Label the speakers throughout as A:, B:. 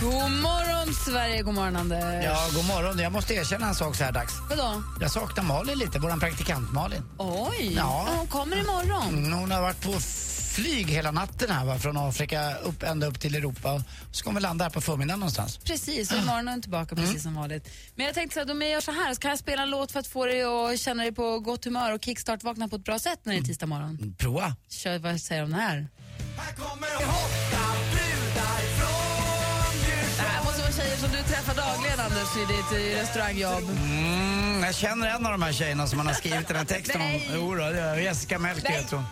A: God morgon, Sverige. God morgon, Anders.
B: Ja, god morgon. Jag måste erkänna en sak så här dags.
A: Vadå?
B: Jag saknar Malin lite, våran praktikant Malin.
A: Oj!
B: Ja.
A: Hon kommer imorgon.
B: Mm, Hon har varit på flyg hela natten här va? från Afrika upp, ända upp till Europa. Så kommer vi landa här på förmiddagen någonstans.
A: Precis, och imorgon är hon tillbaka
B: Mm.
A: precis som vanligt. Men jag tänkte så här, om jag gör så här, så kan jag spela en låt för att få dig att känna dig på gott humör och kickstart-vakna på ett bra sätt när
B: Mm.
A: det är tisdag morgon?
B: Prova.
A: Kör, vad säger du om det här? Det här måste vara tjejer som du träffar dagligen, Anders, i ditt eh, restaurangjobb.
B: Mm, jag känner en av de här tjejerna som man har skrivit den här texten om.
A: Nej.
B: Jo då, det är Jessica Melker
A: Nej.
B: heter hon.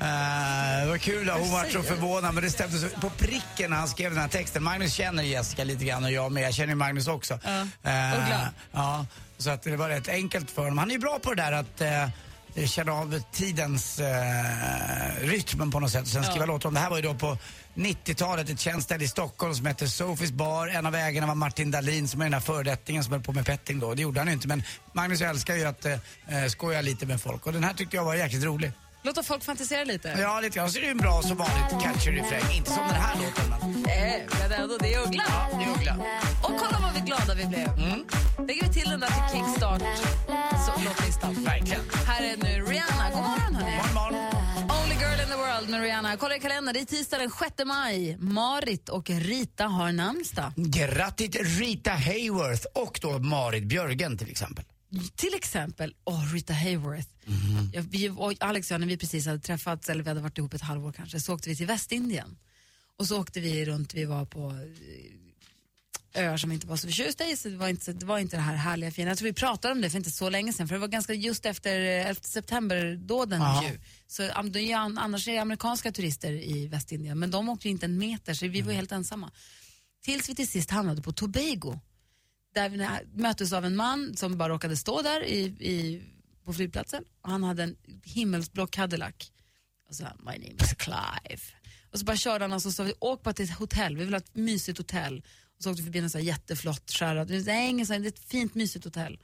B: Eh, det var kul, att hon var så förvånad men det stämde så på pricken när han skrev den här texten. Magnus känner Jessica lite grann och jag med. Jag känner ju Magnus också.
A: Ja.
B: Eh,
A: Och glad.
B: ja, så att det var rätt enkelt för honom. Han är ju bra på det där att eh, känna av tidens eh, rytmen på något sätt och sen skriva låtar om det. här var ju då på 90-talet ett känt ställe i Stockholm som hette Sofies bar. En av ägarna var Martin Dahlin som är den här förrättningen som höll på med petting då. Det gjorde han ju inte men Magnus älskar ju att eh, eh, skoja lite med folk och den här tyckte jag var jäkligt rolig.
A: Låt oss folk fantisera lite.
B: Ja, lite grann. Så det är en bra som vanligt country-refräng. Inte som den här låten men...
A: Eh, men ändå, det är Uggla.
B: Ja, det är Uggla.
A: Och kolla vad vi glada vi blev. Lägger vi till den där till Kickstart så låtlistan.
B: Verkligen.
A: Här är nu Rihanna. God morgon, hörni.
B: Morgon, morgon.
A: Only girl in the world med Rihanna. Kolla i kalendern, det är tisdag den 6 maj. Marit och Rita har namnsdag.
B: Grattis Rita Hayworth och då Marit Björgen till exempel.
A: Till exempel oh, Rita Hayworth. Jag, vi, och Alex och jag, när vi precis hade träffats, eller vi hade varit ihop ett halvår kanske, så åkte vi till Västindien. Och så åkte vi runt, vi var på eh, öar som vi inte var så förtjusta i, så det var, inte, det var inte det här härliga fina. Jag tror vi pratade om det för inte så länge sedan, för det var ganska just efter eh, 11 september-dåden
B: Ja.
A: ju. Så am- det är ju an- annars är det amerikanska turister i Västindien, men de åkte ju inte en meter, så vi var ju helt ensamma. Tills vi till sist hamnade på Tobago där vi nä- möttes av en man som bara råkade stå där i, i, på flygplatsen och han hade en himmelsblå Cadillac. Och så han, my name is Clive. Och så bara körde han oss och så sa vi, åk bara till ett hotell, vi vill ha ett mysigt hotell. Och så åkte vi förbi en så här jätteflott skärad, det är ingen sån här- det är ett fint mysigt hotell.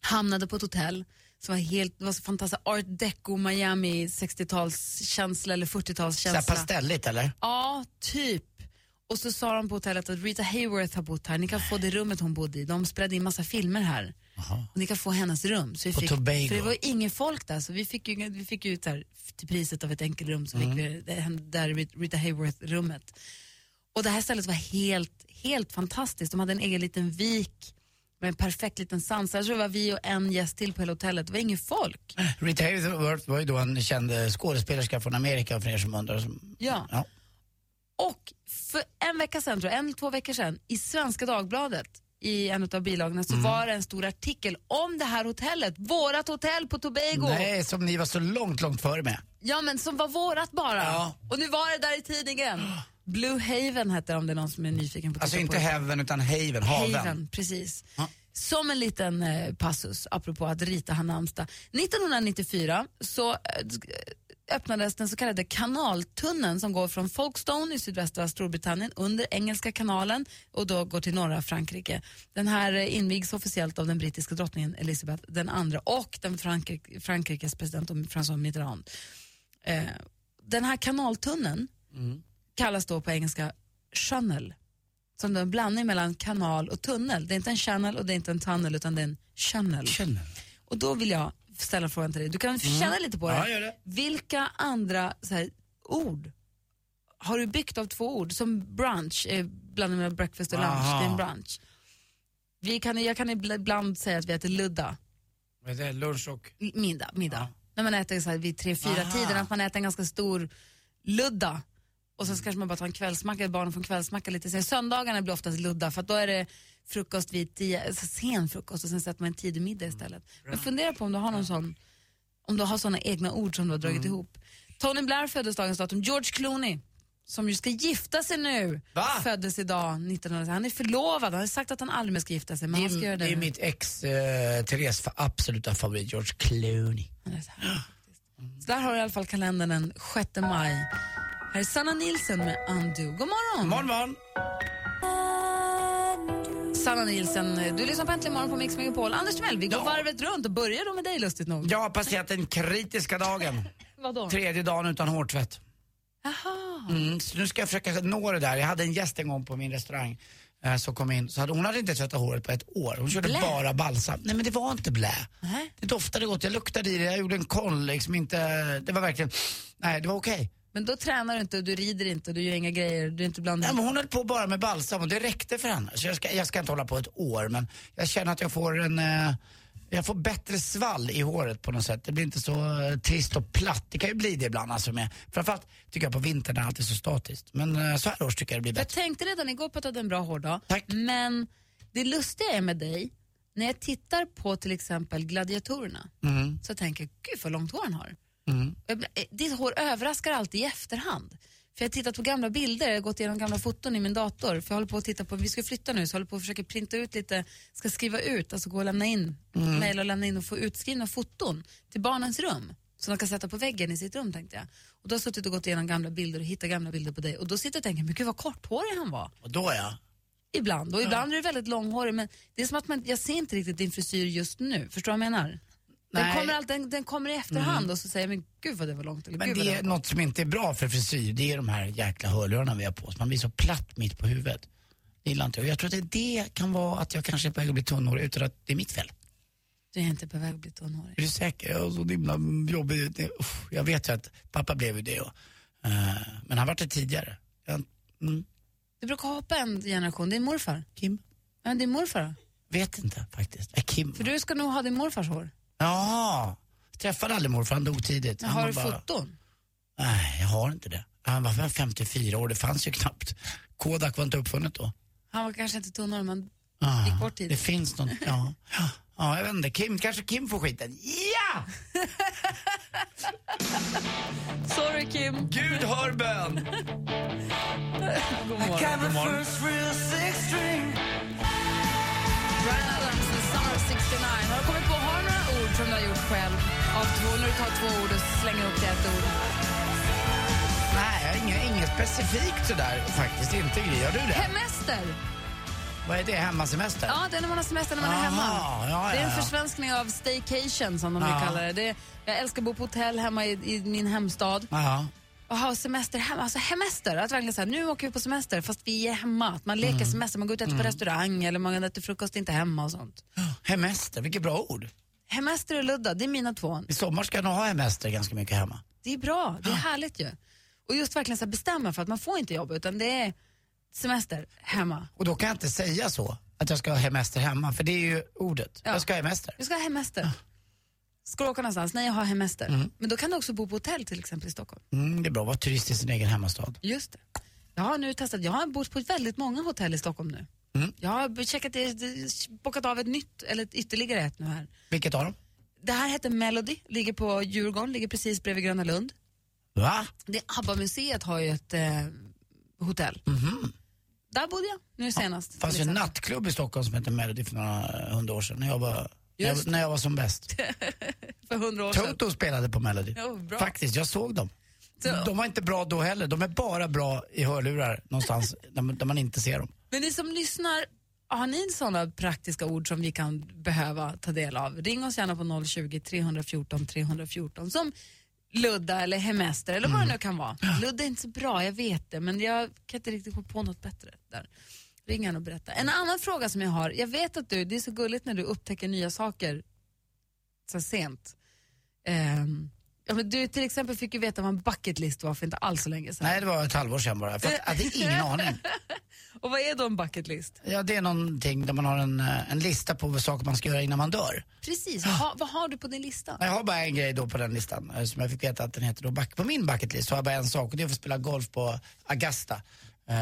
A: Hamnade på ett hotell som var helt, det var så fantastiskt, art deco, Miami 60-talskänsla eller
B: Så här
A: 40-talskänsla.
B: pastelligt eller?
A: Ja, typ. Och så sa de på hotellet att Rita Hayworth har bott här, ni kan få det rummet hon bodde i. De spred in massa filmer här. Och ni kan få hennes rum. Så vi
B: På
A: fick,
B: Tobago.
A: För det var ju ingen folk där, så vi fick ju, vi fick ju ut här, till priset av ett enkelrum, så
B: Mm.
A: fick vi det, hen- där Rit- Rita Hayworth-rummet. Och det här stället var helt, helt fantastiskt. De hade en egen liten vik med en perfekt liten sand. Så här tror jag det var vi och en gäst till på hela hotellet. Det var ingen folk.
B: Rita Hayworth var ju då en känd eh, skådespelerska från Amerika för er som undrar. Som,
A: Ja.
B: ja.
A: Och för en vecka sedan, tror jag, en eller två veckor sedan, i Svenska Dagbladet i en av bilagorna
B: Mm.
A: så var det en stor artikel om det här hotellet, vårat hotell på Tobago.
B: Nej, som ni var så långt, långt före med.
A: Ja men som var vårat bara.
B: Ja.
A: Och nu var det där i tidningen. Blue Haven hette det om det är någon som är nyfiken på att
B: Alltså
A: titta på
B: inte
A: det.
B: heaven utan haven, haven.
A: Haven, precis.
B: Ja.
A: Som en liten eh, passus, apropå att Rita har namnsdag. 1994 så eh, sk- eh, öppnades den så kallade kanaltunneln som går från Folkestone i sydvästra Storbritannien under Engelska kanalen och då går till norra Frankrike. Den här eh, invigs officiellt av den brittiska drottningen Elizabeth den andra och den Frankrik- Frankrikes president François Mitterrand. Eh, den här kanaltunneln kallas då på engelska channel som då är en blandning mellan kanal och tunnel. Det är inte en channel och det är inte en tunnel utan det är en channel.
B: Känner.
A: Och då vill jag ställa frågan till dig, du kan känna lite på det.
B: Mm. Ja, gör det.
A: Vilka andra så här, ord har du byggt av två ord? Som brunch, eh, blandning mellan breakfast och lunch,
B: Aha.
A: det är en brunch. Vi kan, jag kan ibland säga att vi äter ludda,
B: Vad är det? Lunch och...
A: l- middag, middag. När man äter så här vid tre, fyra
B: Aha.
A: tiden, att man äter en ganska stor ludda. Och sen så kanske man bara tar en kvällsmacka, barnen får en kvällsmacka lite sen. Söndagarna blir oftast ludda för att då är det frukost vid tio, alltså sen frukost och sen sätter man en tidig middag
B: Mm.
A: istället. Men fundera på om du har någon sån,
B: Mm.
A: om du har såna egna ord som du har dragit ihop. Tony Blair föddes dagens datum, George Clooney som ju ska gifta sig nu,
B: Va?
A: föddes idag 1900. Han är förlovad, han har sagt att han aldrig mer ska gifta sig. Men han ska
B: Det är,
A: göra det.
B: det är
A: nu.
B: mitt ex, eh, Therese fa- absoluta favorit, George Clooney.
A: Han är så här, faktiskt. Så där har du i alla fall kalendern den 6 maj. Här är Sanna Nilsson med Undo. God morgon!
B: Morgon, morgon.
A: Sanna Nilsson, du lyssnar på Äntligen morgon på Mix Megapol. Anders Timell, vi går
B: Ja.
A: varvet runt och börjar då med dig lustigt nog.
B: Jag har passerat den kritiska dagen.
A: Vadå?
B: Tredje dagen utan hårtvätt.
A: Jaha.
B: Mm, så nu ska jag försöka nå det där. Jag hade en gäst en gång på min restaurang eh, som kom in. Så hade, hon hade inte tvättat håret på ett år. Hon körde
A: Blä.
B: bara balsam. Nej men det var inte blä.
A: Nej.
B: Det doftade gott, jag luktade i det, jag gjorde en koll liksom inte. Det var verkligen, nej det var okej.
A: Men då tränar du inte och du rider inte och du gör inga grejer. Du är inte bland
B: Nej, men hon höll på bara med balsam och det räckte för henne. Så jag ska, jag ska inte hålla på ett år men jag känner att jag får en eh, jag får bättre svall i håret på något sätt. Det blir inte så eh, trist och platt. Det kan ju bli det ibland alltså med, framförallt tycker jag på vintern när allt är så statiskt. Men eh, så här års tycker jag det blir
A: Jag
B: bättre.
A: tänkte redan igår på att du hade en bra hårdag.
B: Tack.
A: Men det lustiga är med dig, när jag tittar på till exempel gladiatorerna
B: Mm.
A: så tänker jag, gud vad långt hår han har.
B: Mm.
A: Och jag blir- eh, Ditt hår överraskar alltid i efterhand. För jag har tittat på gamla bilder, jag har gått igenom gamla foton i min dator. För jag håller på att titta på, vi ska flytta nu, så jag håller på att försöka printa ut lite, ska skriva ut, alltså gå och lämna in,
B: Mm.
A: mejla och lämna in och få utskrivna foton till barnens rum. Som de kan sätta på väggen i sitt rum tänkte jag. Och då har jag suttit och gått igenom gamla bilder och hittat gamla bilder på dig. Och då sitter jag och tänker, men gud vad korthårig han var.
B: Och då ja.
A: Ibland. Och ibland är du väldigt långhårig. Men det är som att man, jag ser inte riktigt din frisyr just nu. Förstår du vad jag menar? Den
B: Nej. Mm.
A: kommer, all, den, den kommer i efterhand och så säger jag, men gud vad det var långt. Eller,
B: Men
A: gud vad
B: det
A: var
B: är något som inte är bra för frisyr, det är de här jäkla hörlurarna vi har på oss. Man blir så platt mitt på huvudet. Det gillar inte jag. Och Jag tror att det det kan vara att jag kanske är på väg att bli tunnhårig utan att det är mitt fel.
A: Du är inte på väg att bli tonåring.
B: Är du säker? Jag är så himla jobbig. ut. Det- uff, Jag vet ju att pappa blev ju det. Och, eh, men han var det tidigare. Jag, mm,
A: Du brukar hoppa en generation, din morfar.
B: Kim?
A: Ja, din morfar då?
B: Vet inte faktiskt. Äh, Kim?
A: För du ska nog ha din morfars hår.
B: Ja, träffade aldrig morfar, han dog tidigt.
A: Men
B: Han
A: har
B: var
A: du
B: bara-
A: foton?
B: Nej, jag har inte det. Han var väl 54 år, det fanns ju knappt. Kodak var inte uppfunnet då.
A: Han var kanske inte tonåring men
B: Ah,
A: Gick bort tidigt.
B: Det finns något, ja. Ja, Ja, jag vet inte. Kim, kanske Kim får skiten. Ja!
A: sorry Kim.
B: Gud hör bön!
A: God morgon.
B: God morgon.
A: Bryan Adams med Summer 69. Har du kommit på, har du några ord som du har gjort själv? Av två, när du tar två ord och slänger ihop till ett ord.
B: Nej, inget, inget specifikt sådär faktiskt. Inte Gry, gör du det?
A: Hemester!
B: Vad är det? Hemmasemester?
A: Ja, det är när man har semester när man är
B: Aha,
A: hemma.
B: ja,
A: det är en
B: Ah, ja, ja.
A: försvenskning av staycation som de vill
B: Ja.
A: kalla det. det är, jag älskar att bo på hotell hemma i, i min hemstad.
B: Ja.
A: Och ha semester hemma, alltså hemester. Att verkligen säga nu åker vi på semester fast vi är hemma. Att man leker
B: Mm.
A: semester, man går ut och äter på restaurang eller man äter frukost inte hemma och sånt.
B: Hemester, vilket bra ord.
A: Hemester och ludda, det är mina två.
B: I sommar ska jag nog ha hemester ganska mycket hemma.
A: Det är bra,
B: Ah.
A: det är härligt ju. Och just verkligen så här bestämma för att man får inte jobba utan det är semester hemma.
B: Och då kan jag inte säga så, att jag ska ha hemester hemma, för det är ju ordet.
A: Ja.
B: Jag ska ha hemester.
A: Du ska ha
B: Ah.
A: hemester. Ska du åka någonstans? Nej, jag har hemester. Men då kan du också bo på hotell till exempel i Stockholm.
B: Mm, det är bra att vara turist i sin egen hemmastad.
A: Just det. Jag har nu testat, jag har bott på väldigt många hotell i Stockholm nu. Jag har checkat, bockat av ett nytt, eller ett ytterligare ett nu här.
B: Vilket av dem?
A: Det här heter Melody, ligger på Djurgården, ligger precis bredvid Gröna Lund.
B: Va?
A: Det, ABBA-museet har ju ett eh, hotell. Där bodde jag nu senast. liksom,
B: Det fanns ju
A: till
B: en
A: exempel.
B: nattklubb i Stockholm som hette Melody för några eh, hundra år sedan, när jag var, när
A: Just
B: jag, när jag var som bäst.
A: För hundra år sedan.
B: Toto spelade på Melody.
A: Ja, bra.
B: Faktiskt, jag såg dem.
A: Så-
B: De var inte bra då heller, de är bara bra i hörlurar någonstans där, man, där man inte ser dem.
A: Men ni som lyssnar, har ni sådana praktiska ord som vi kan behöva ta del av? Ring oss gärna på 020-314 314 som ludda eller hemester eller vad det nu kan vara. Ludda är inte så bra, jag vet det, men jag kan inte riktigt gå på något bättre där. Ring gärna och berätta. En annan fråga som jag har, jag vet att du, det är så gulligt när du upptäcker nya saker så sent. Ehm, ja, men du till exempel fick ju veta vad en bucket list var för inte alls så länge sedan.
B: Nej, det var ett halvår sedan bara. För att, jag hade ingen aning.
A: Och vad är då en bucket list?
B: Ja, det är någonting där man har en, eh, en lista på vad saker man ska göra innan man dör.
A: Precis, ha, vad har du på din lista?
B: Jag har bara en grej då på den listan eh, som jag fick veta att den heter då back, på min bucketlist. Så har jag bara en sak och det är att få spela golf på Augusta. Eh,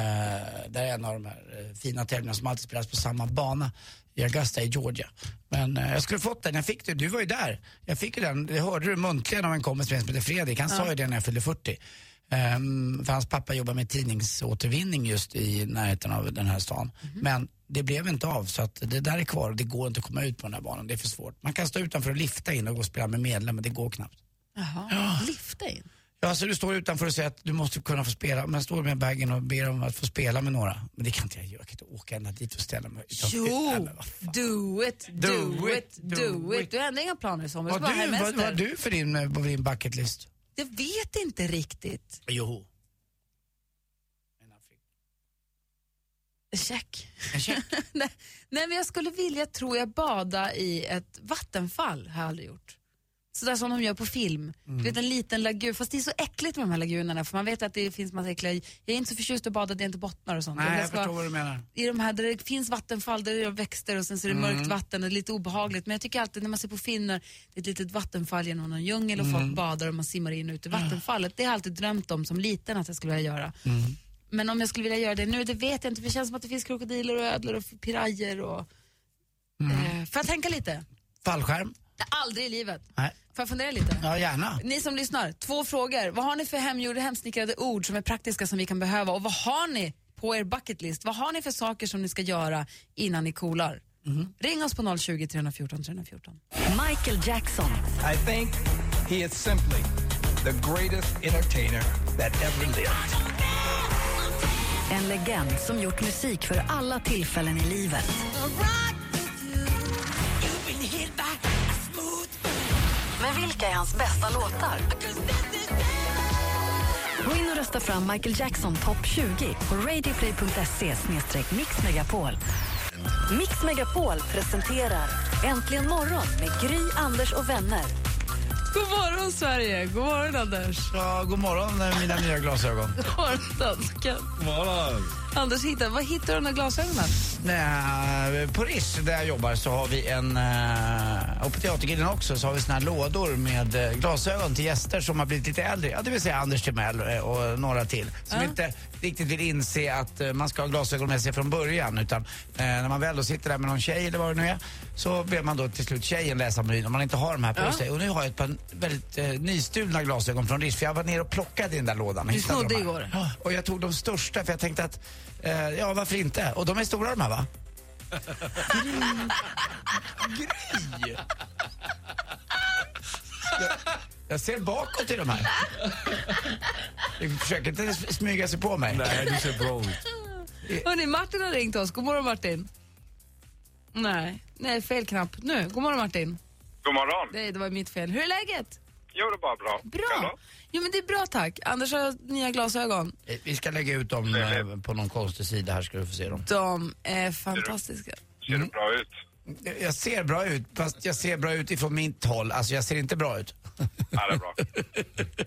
B: där är en av de här eh, fina tävlingarna som alltid spelas på samma bana i Augusta i Georgia. Men eh, jag skulle fått den, jag fick den, du var ju där. Jag fick ju den, det hörde du muntligen av en kompis med som heter Fredrik, han sa ju det när jag fyllde 40. Ehm, för hans pappa jobbar med tidningsåtervinning just i närheten av den här stan.
A: Mhm.
B: Men det blev inte av så att det där är kvar och det går inte att komma ut på den här banan. Det är för svårt. Man kan stå utanför och lifta in och gå och spela med medlem men det går knappt.
A: Jaha, lifta in.
B: Ja, så du står utanför och säger att du måste kunna få spela. Men jag står med bagen och ber om att få spela med några. Men det kan inte jag göra. Jag kan inte åka ända dit och ställa mig utanför. Nej,
A: Jo,
B: men vad fan.
A: do it, do,
B: Do
A: it,
B: it,
A: do,
B: do
A: it.
B: it.
A: Du har ändå inga planer i sommar, du
B: Vad
A: ska vara
B: du, vad,
A: herrmästare.
B: vad du för din, eh, på din bucket list?
A: Jag vet inte riktigt.
B: Jo.
A: Check.
B: En check.
A: Nej, nej, men jag skulle vilja, tror jag, bada i ett vattenfall, har jag aldrig gjort. Sådär som de gör på film.
B: Mm.
A: Du vet en liten lagun, fast det är så äckligt med de här lagunerna för man vet att det finns massa äckliga... Jag är inte så förtjust i att bada, det är inte bottnar och sånt.
B: Nej, jag
A: ska-
B: förstår vad du menar.
A: i de här där det finns vattenfall, där det är växter och sen så är det
B: Mm.
A: mörkt vatten och lite obehagligt. Men jag tycker alltid när man ser på finnar, det är ett litet vattenfall genom någon djungel och
B: Mm.
A: folk badar och man simmar in och
B: Ah.
A: ut i vattenfallet. Det har jag alltid drömt om som liten att jag skulle vilja göra.
B: Mm.
A: Men om jag skulle vilja göra det nu, det vet jag inte. för Det känns som att det finns krokodiler och ödlor och pirajer och...
B: Mm.
A: Eh, får jag tänka lite?
B: Fallskärm?
A: Det är aldrig i livet.
B: Nej.
A: Får jag fundera lite?
B: Ja, gärna.
A: Ni som lyssnar, två frågor. Vad har ni för hemgjorda, hemsnickrade ord som är praktiska som vi kan behöva? Och vad har ni på er bucketlist? Vad har ni för saker som ni ska göra innan ni coolar? Ring oss på 020 314 314.
C: Michael Jackson,
D: I think he is simply the greatest entertainer that ever lived.
C: en legend som gjort musik för alla tillfällen i livet. Men vilka är hans bästa låtar? Gå in och rösta fram Michael Jackson topp 20 på radioplay.se mixmegapol. Mix Megapol presenterar Äntligen morgon med Gry, Anders och vänner.
A: God morgon, Sverige! God morgon, Anders!
B: Ja, god morgon eh, mina nya glasögon.
A: God morgon, dansken! Anders, hitta, vad hittar du de där glasögonen?
B: Nej, Eh, på RIS där jag jobbar så har vi en, eh, och på Teatergrillen också, så har vi såna här lådor med eh, glasögon till gäster som har blivit lite äldre. Ja, det vill säga Anders Timell eh, och några till. Som inte riktigt vill inse att eh, man ska ha glasögon med sig från början. Utan eh, när man väl då sitter där med någon tjej eller vad det nu är så ber man då till slut tjejen läsa menyn om man inte har de här på sig. Och nu har jag ett par väldigt eh, nystulna glasögon från RIS för jag var nere och plockade i den där lådan. och
A: Du
B: hittade
A: snodde
B: de här.
A: igår.
B: Ja, Och jag tog de största för jag tänkte att, eh, ja varför inte? Och de är stora de här va? Jag ser bakåt i de här. Du försöker inte s- smyga sig på mig.
E: Nej, du ser bra ut.
A: Hörrni, Martin har ringt oss. God morgon, Martin! Nej, nej, fel knapp. Nu, god morgon, Martin.
F: God morgon.
A: Nej, det var mitt fel. Hur är läget?
F: Jo, det är bara bra.
A: Bra! Jo, men det är bra, tack. Anders har nya glasögon.
B: Eh, Vi ska lägga ut dem eh, på någon konstig sida här ska du få se dem.
A: De är fantastiska.
F: Ser du bra ut?
B: Jag- Jag ser bra ut, fast jag ser bra ut ifrån mitt håll. Alltså jag ser inte bra ut.
F: Ja, det är bra.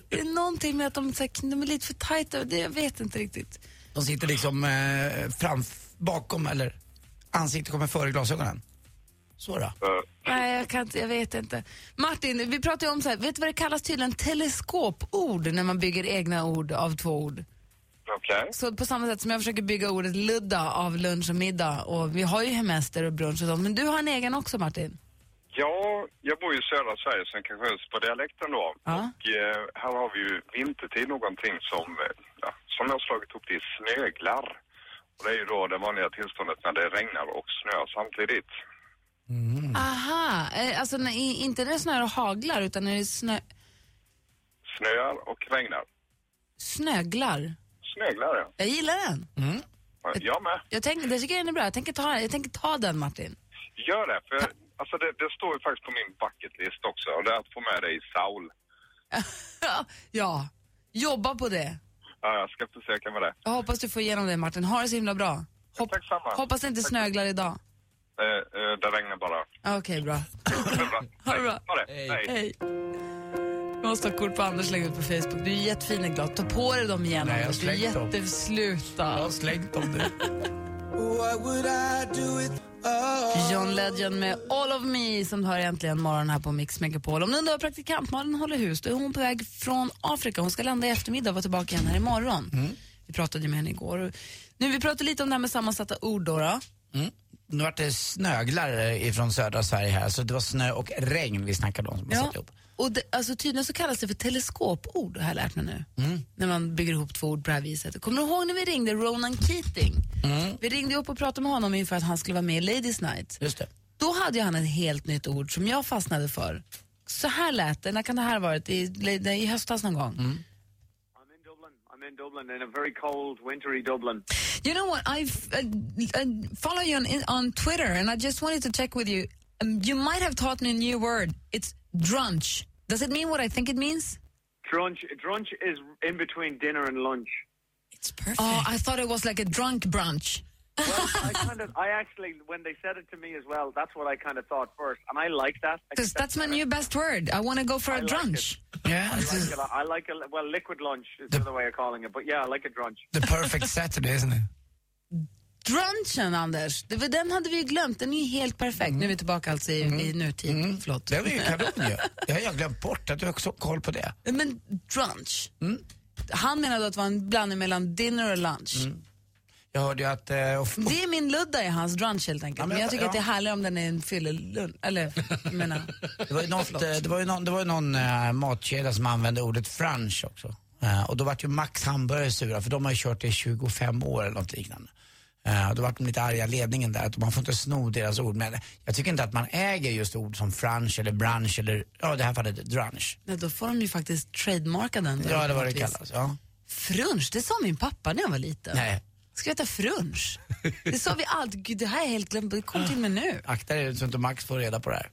A: Det är någonting med att de, så här, de är lite för tajta. och Det, jag vet inte riktigt.
B: De sitter liksom eh, framf- bakom eller ansiktet kommer före glasögonen. Så då.
F: Så,
A: Nej, jag, kan inte, jag vet inte. Martin, vi pratade ju om så här, vet du vad det kallas tydligen? Teleskopord när man bygger egna ord av två ord.
F: Okej.
A: Så på samma sätt som jag försöker bygga ordet ludda av lunch och middag och vi har ju hemester och brunch och sånt. Men du har en egen också Martin.
F: Ja, jag bor ju i södra Sverige, så jag kanske hörs på dialekten då.
A: Ja.
F: Och eh, här har vi ju vintertid någonting som, eh, ja, som jag har slagit upp till snöglar. Och det är ju då det vanliga tillståndet när det regnar och snöar samtidigt.
A: Mm. Aha, eh, alltså när, i- inte när det snöar och haglar utan när det snö,
F: Snöar och regnar.
A: snöglar.
F: Snöglar, ja.
A: Jag gillar den.
F: Ja, Jag med.
A: Jag tänker, det tycker jag den är bra. Jag tänker ta, jag tänker ta den Martin.
F: Gör det, för alltså, det, det står ju faktiskt på min bucket list också. Och det är att få med dig i Saul.
A: ja, jobba på det.
F: Ja, jag ska försöka med det.
A: Jag hoppas du får igenom det Martin. Ha det så himla bra. Hopp,
F: Tack samma.
A: hoppas det inte snöglar idag.
F: Eh, eh, det regnar bara.
A: Ja, Okej, bra. Ha det bra.
F: Ha det. Hej.
A: Hej. Vi måste ha kort på Anders och lägga ut på Facebook. Du är jättefin och glad. Ta på dig dem igen
B: Nej, jag har
A: Anders. Du är alltså.
B: slängt dem. Jag har
A: jättesluta.
B: slängt dem nu.
A: John Legend med All of me som du hör äntligen morgon här på Mix Megapol. Om ni undrar var praktikant Malin håller hus, då är hon på väg från Afrika. Hon ska landa i eftermiddag och vara tillbaka igen här imorgon. Vi pratade ju med henne igår. Nu, vi pratade lite om det här med sammansatta ord då. då.
B: Nu vart det snöglar eh, ifrån södra Sverige här, så det var snö och regn vi snackade om som man
A: Ja.
B: satte ihop.
A: Och det, alltså tydligen så kallas det för teleskopord, har jag lärt mig nu. När man bygger ihop två ord på det här viset. Kommer du ihåg när vi ringde Ronan Keating? Vi ringde upp och pratade med honom inför att han skulle vara med i Ladies Night.
B: Just det.
A: Då hade ju han ett helt nytt ord som jag fastnade för. Så här lät det, när kan det här ha varit? I, i höstas någon gång?
G: Mm. I'm in Dublin. I'm in Dublin, in a very cold, wintry Dublin.
A: You know what? I uh, uh, follow you on on Twitter, and I just wanted to check with you. Um, you might have taught me a new word. It's drunch. Does it mean what I think it means?
G: Drunch, drunch is in between dinner and lunch.
H: It's perfect.
A: Oh, I thought it was like a drunk brunch.
G: Well, I kind of, I actually, when they said it to me as well, that's what I kind of thought first, and I like that. I
A: Because
G: think
A: that's my
G: better.
A: new best word. I want to go for a
G: I like
A: drunch.
B: Yeah,
G: I
B: this
G: like,
B: is
G: it. a lot. I like a, well, liquid lunch is the other way of calling it, but yeah, I like a drunch.
B: the perfect Saturday, isn't it?
A: Drunchen, Anders. Det var, den hade vi ju glömt. Den är ju helt perfekt. Nu är vi tillbaka alltså i, i nutid.
G: Mm.
A: Förlåt.
B: Det var ju kanon ju. Det har jag glömt bort, att du har också koll på det.
A: Men drunch. Han menade att det var en blandning mellan dinner och lunch.
B: Mm. Jag hörde ju att... eh, och-
A: Det är min ludda i hans drunch helt enkelt.
B: Ja, men
A: men jag
B: jag-
A: tycker att det är
B: ja.
A: härligare om den är en fyllelunch. Eller, jag menar.
B: Det var ju, något, eh, det var ju någon, det var ju någon eh, matkedja som använde ordet fransch också. Eh, och då vart ju Max hamburgare sura för de har ju kört det i 25 år eller något liknande. Eh, och då vart de lite arga ledningen där att man får inte sno deras ord. Men jag tycker inte att man äger just ord som fransch eller brunch eller ja i det här fallet drunch.
A: Nej, då får de ju faktiskt trademarka den. då,
B: Ja det var det
A: på något vis.
B: kallas. Ja.
A: Frunch, det sa min pappa när jag var liten.
B: Nej.
A: Ska vi äta frunch? Det sa vi alltid. Gud, det här är helt glömt. Det kom till mig nu.
B: Akta dig så inte Max får reda på det här.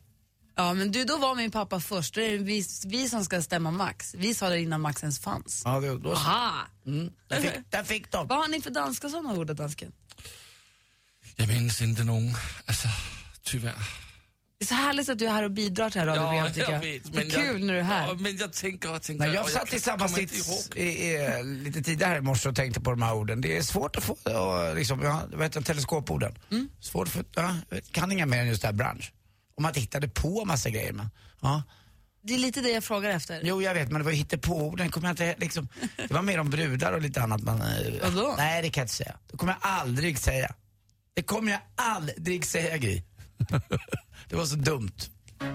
A: Ja, men du, då var min pappa först. Då är det vi, vi som ska stämma Max. Vi sa det innan Max ens fanns.
B: Ja, det, då,
A: Aha!
B: mm, där, fick, där fick de.
A: Vad har ni för danska sådana ord, dansken?
I: Jag minns inte någon, alltså tyvärr.
A: Det är så härligt att du är här och bidrar till det här radioprogrammet tycker jag. det är kul när du är här.
I: Ja, men jag tänker och tänker.
B: När jag
I: och
B: satt i
I: kan-
B: samma
I: kommer inte ihåg.
B: sits i, i, eh, lite tidigare här i morse och tänkte på de här orden. Det är svårt att få, och, liksom, ja, vad heter det, teleskoporden. Svårt att få, ja, jag kan inga mer än just det här bransch. Om man tittade på massa grejer. Men, ja.
A: Det är lite det jag frågar efter.
B: Jo, jag vet, men det var ju hittepåorden. Kommer jag inte, liksom, det var mer om brudar och lite annat. Men, eh,
A: Vadå?
B: Nej, det kan jag inte säga. Det kommer jag aldrig säga. Det kommer jag aldrig säga, Gry. det var så dumt.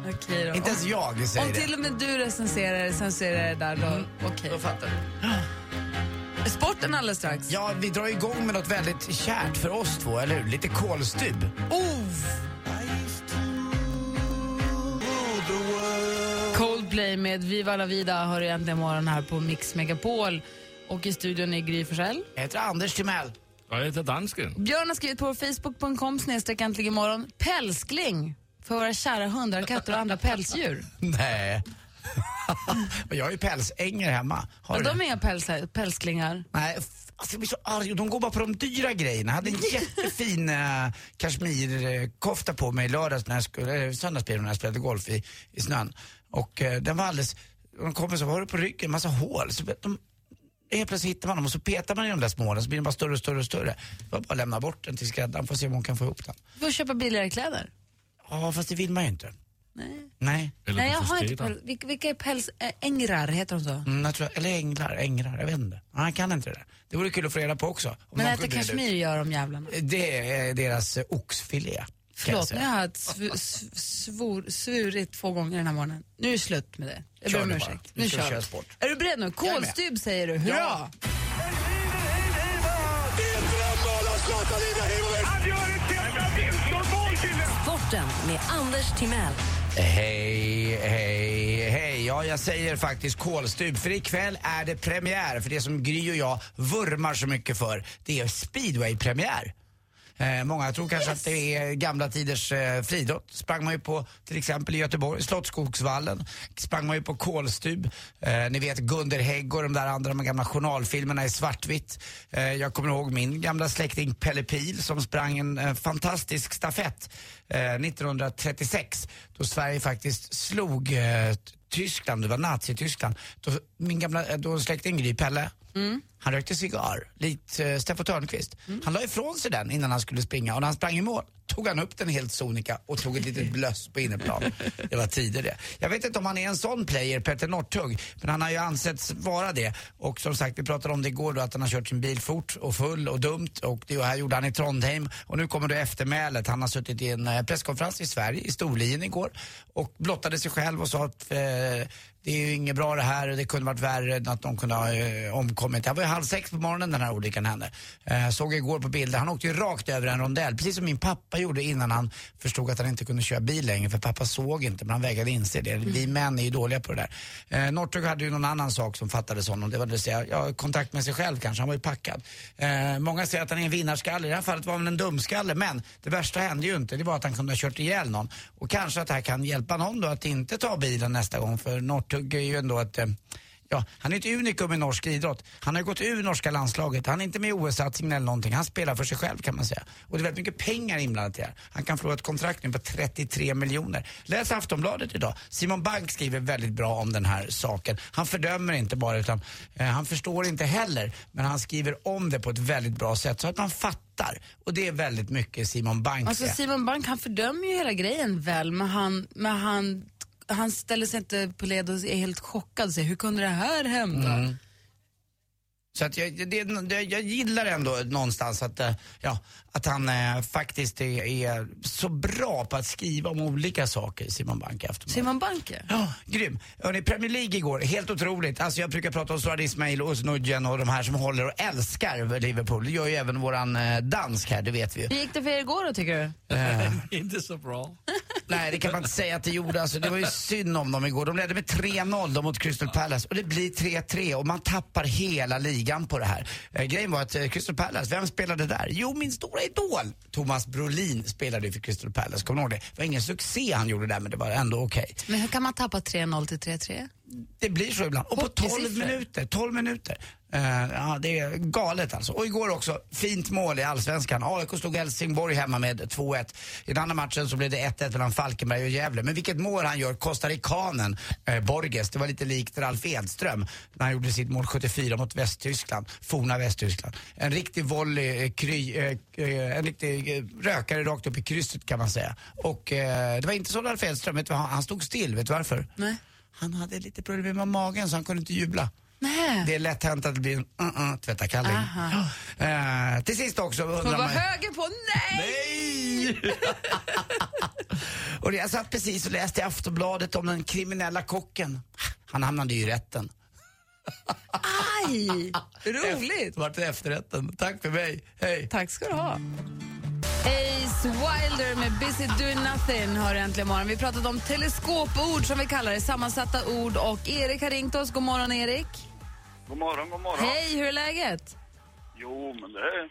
A: Okej då.
B: Inte ens jag säger
A: Om
B: det.
A: till och med du recenserar det, censurerar det där, då
B: Mm.
A: okej.
B: Då fattar du.
A: Sporten alldeles strax.
B: Ja, vi drar igång med något väldigt kärt för oss två, eller hur? Lite kolstub.
A: Oh! Coldplay med Viva la vida hör egentligen morgon här på Mix Megapol. Och i studion är Gry Forssell.
B: Jag heter Anders Timell.
I: Jag heter dansken.
A: Björn har skrivit på facebook.com snedstreck äntligen imorgon pälskling för våra kära hundar, katter och andra pälsdjur.
B: Nej. Och jag har ju pälsänger hemma. Har
A: Men
B: du
A: de
B: det?
A: är päls- pälsklingar.
B: Nej, f- alltså jag blir så arg. De går bara på de dyra grejerna. Jag hade en jättefin eh, kashmirkofta på mig i lördags när jag skulle, eller söndagsbilen när jag spelade golf i, i snön. Och eh, den var alldeles, de kommer så har du på ryggen massa hål. Så de, helt plötsligt hittar man dem och så petar man i de där små hålen så blir de bara större och större och större. Det var bara att lämna bort den till skräddaren för att se om hon kan få ihop den.
A: Du får köpa billigare kläder.
B: Ja, fast det vill man ju inte.
A: Nej.
B: Nej.
I: Eller
A: Nej,
I: på
A: jag har inte
I: förskridan.
A: päls. Vilka, vilka är pälsängrar, heter de så?
B: Mm, jag tror, eller änglar, ängrar, jag vet inte. Nej, jag kan inte det där. Det vore kul att få reda på också. om någon
A: Men äta
B: kunde reda ut.
A: kashmir gör de jävlarna.
B: Det är deras eh, oxfilé. kan jag
A: Förlåt, nu
B: säga.
A: har jag sv- sv- svor, svurit två gånger den här morgonen. Nu är det slut med det. Jag
B: Kör
A: ber om
B: nu
A: ursäkt.
B: bara. Nu
A: Nu
B: ska vi
A: kör
B: köra
A: vi.
B: sport.
A: Är du beredd nu?
B: är med.
A: Kolstyv säger du. Hurra!
B: Ja.
C: Sporten med Anders Timell.
B: Hej, hej, hej. Ja, jag säger faktiskt kolstub. För ikväll är det premiär för det som Gry och jag vurmar så mycket för. Det är speedway-premiär. Eh, många tror kanske att det är gamla tiders eh, friidrott. sprang man ju på till exempel i Göteborg, Slottsskogsvallen. Sprang man ju på Kolstub. Eh, ni vet Gunder Hägg och de där andra de gamla journalfilmerna i svartvitt. Eh, jag kommer ihåg min gamla släkting Pelle Pil som sprang en eh, fantastisk stafett eh, 1936 då Sverige faktiskt slog eh, Tyskland, det var Nazityskland. Då, min gamla eh, då släkting Gry, Pelle, Han rökte cigarr, likt eh, Steffo Törnqvist. Han la ifrån sig den innan han skulle springa och när han sprang i mål tog han upp den helt sonika och tog ett litet blöss på innerplan. Det var tider det. Jag vet inte om han är en sån player, Petter Northug, men han har ju ansetts vara det. Och som sagt, vi pratade om det igår då att han har kört sin bil fort och full och dumt och det här gjorde han i Trondheim. Och nu kommer då eftermälet. Han har suttit i en eh, presskonferens i Sverige, i Storlien igår och blottade sig själv och sa att eh, det är ju inget bra det här, det kunde varit värre att någon kunde ha eh, omkommit. Det var ju halv sex på morgonen den här olyckan hände. Eh, såg igår på bilder, han åkte ju rakt över en rondell, precis som min pappa gjorde innan han förstod att han inte kunde köra bil längre, för pappa såg inte, men han vägrade inse det. Vi män är ju dåliga på det där. Eh, Northug hade ju någon annan sak som fattades honom, det var det vill säga, ja, kontakt med sig själv kanske, han var ju packad. Eh, många säger att han är en vinnarskalle, i det här fallet var han en dumskalle, men det värsta hände ju inte, det var att han kunde ha kört ihjäl någon. Och kanske att det här kan hjälpa någon då att inte ta bilen nästa gång, för Northug är ju ändå ett eh, Ja, han är ett unikum i norsk idrott. Han har ju gått ur norska landslaget. Han är inte med i OS-satsningen eller någonting. Han spelar för sig själv kan man säga. Och det är väldigt mycket pengar inblandat i det här. Han kan förlora ett kontrakt nu på 33 miljoner. Läs Aftonbladet idag. Simon Bank skriver väldigt bra om den här saken. Han fördömer inte bara utan eh, han förstår inte heller. Men han skriver om det på ett väldigt bra sätt så att man fattar. Och det är väldigt mycket Simon Bank.
A: Alltså
B: det.
A: Simon Bank han fördömer ju hela grejen väl, men han, men han, han ställer sig inte på led och är helt chockad och säger hur kunde det här hända?
B: Mm. Så att jag, det, det, jag gillar ändå någonstans att, eh, ja, att han eh, faktiskt är, är så bra på att skriva om olika saker, Simon Bank i Aftonbladet.
A: Simon Banke?
B: Ja, grym. Hörrni, Premier League igår, helt otroligt. Alltså jag brukar prata om Suad Ismail och Snudgen och de här som håller och älskar Liverpool. Det gör ju även våran eh, dansk här, det vet vi ju.
A: Hur gick det för er igår då tycker du?
B: Eh,
I: Inte så bra.
B: Nej, det kan man inte säga att det gjorde. Alltså, det var ju synd om dem igår. De ledde med 3-0 då mot Crystal Palace och det blir 3-3 och man tappar hela ligan på det här. Eh, grejen var att eh, Crystal Palace, vem spelade där? Jo, min stora idol Thomas Brolin spelade ju för Crystal Palace. Kommer ni ihåg det? Det var ingen succé han gjorde där, men det var ändå okej.
A: Men hur kan man tappa 3-0 till 3-3?
B: Det blir så ibland. Och på 12
A: Hockeysiffror.
B: minuter. 12 minuter. Eh, ja, det är galet alltså. Och igår också, fint mål i allsvenskan. AIK slog Helsingborg hemma med 2-1. I den andra matchen så blev det 1-1 mellan Falkenberg och Gävle. Men vilket mål han gör, costarikanen eh, Borges. Det var lite likt Ralf Edström när han gjorde sitt mål 74 mot Västtyskland, forna Västtyskland. En riktig volley, eh, kry, eh, eh, en riktig eh, rökare rakt upp i krysset kan man säga. Och eh, det var inte så Ralf Edström, vet du, vad? han han stod still, vet du varför?
A: Nej.
B: Han hade lite problem med magen så han kunde inte jubla.
A: Nej.
B: Det är lätt hänt att det blir en uh-uh, tvättarkalling.
A: Aha.
B: Ja. Eh, till sist också
A: Hon
B: undrar
A: var
B: man...
A: höger på, nej!
B: Nej! och det- jag satt precis och läste i Aftonbladet om den kriminella kocken. Han hamnade ju i rätten.
A: Aj!
B: Roligt! Vart det efterrätten. Tack för mig. Hej!
A: Tack ska du ha. Ace Wilder med Busy Doing Nothing har äntligen morgon. Vi pratade om teleskopord som vi kallar det, sammansatta ord och Erik har ringt oss. God morgon Erik.
G: God morgon, god morgon.
A: Hej, hur är läget?
G: Jo, men det är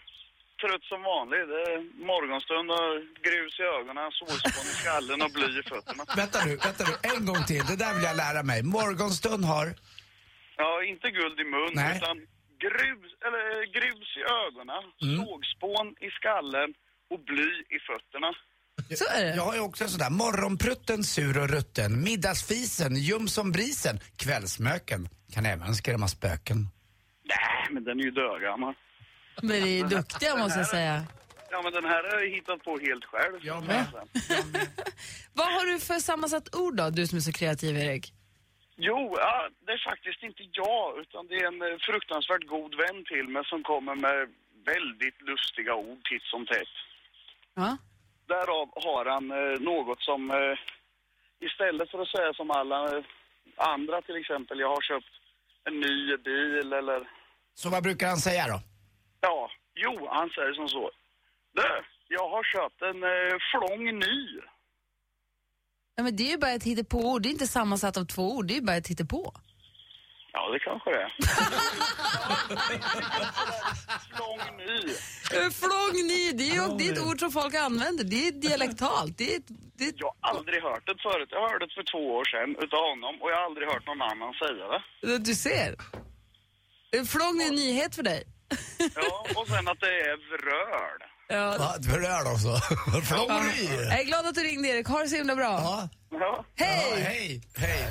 G: trött som vanligt. Det är morgonstund och grus i ögonen, solspån i skallen och bly i fötterna.
B: Vänta nu, vänta nu. En gång till. Det där vill jag lära mig. Morgonstund har...
G: Ja, inte guld i mun,
B: Nej.
G: utan grus, eller, eh, grus i ögonen, sågspån i skallen och bly i fötterna.
A: Så är det.
B: Jag har ju också en sån där morgonprutten, sur och rutten, middagsfisen, ljum som brisen, kvällsmöken. Kan även skrämma spöken.
G: Nej, men den är ju dödgammal.
A: Men vi är duktiga måste jag säga.
G: Ja, men den här har jag hittat på helt själv.
B: Jag med.
A: Vad har du för sammansatt ord då, du som är så kreativ Erik?
G: Jo, ja, det är faktiskt inte jag, utan det är en eh, fruktansvärt god vän till mig som kommer med väldigt lustiga ord titt som tätt.
A: Ja.
G: Därav har han eh, något som, eh, istället för att säga som alla eh, andra till exempel, jag har köpt en ny bil eller,
B: Så vad brukar han säga då?
G: ja, jo, han säger som så. Du, jag har köpt en eh, flång ny.
A: Ja, men det är ju bara ett hittepåord, det är inte sammansatt av två ord, det är ju bara ett hittepå.
G: Ja, det kanske det är. flång ny.
A: Eh, Flångny, det är ju det är ett ord som folk använder, det är dialektalt. Det är ett, det är ett,
G: Jag har aldrig hört det förut. Jag hörde det för två år sedan utav honom och jag har aldrig hört någon annan säga det.
A: Du ser. En flång är en nyhet för dig.
G: Ja, och sen att det är vröl.
A: Ja.
B: Va? Du rör dem så. Flångeri!
A: Jag är glad att du ringde, Erik. Ha det så himla bra.
B: Ja,
G: Ja.
B: ja,
A: Hej!
B: hej, hej.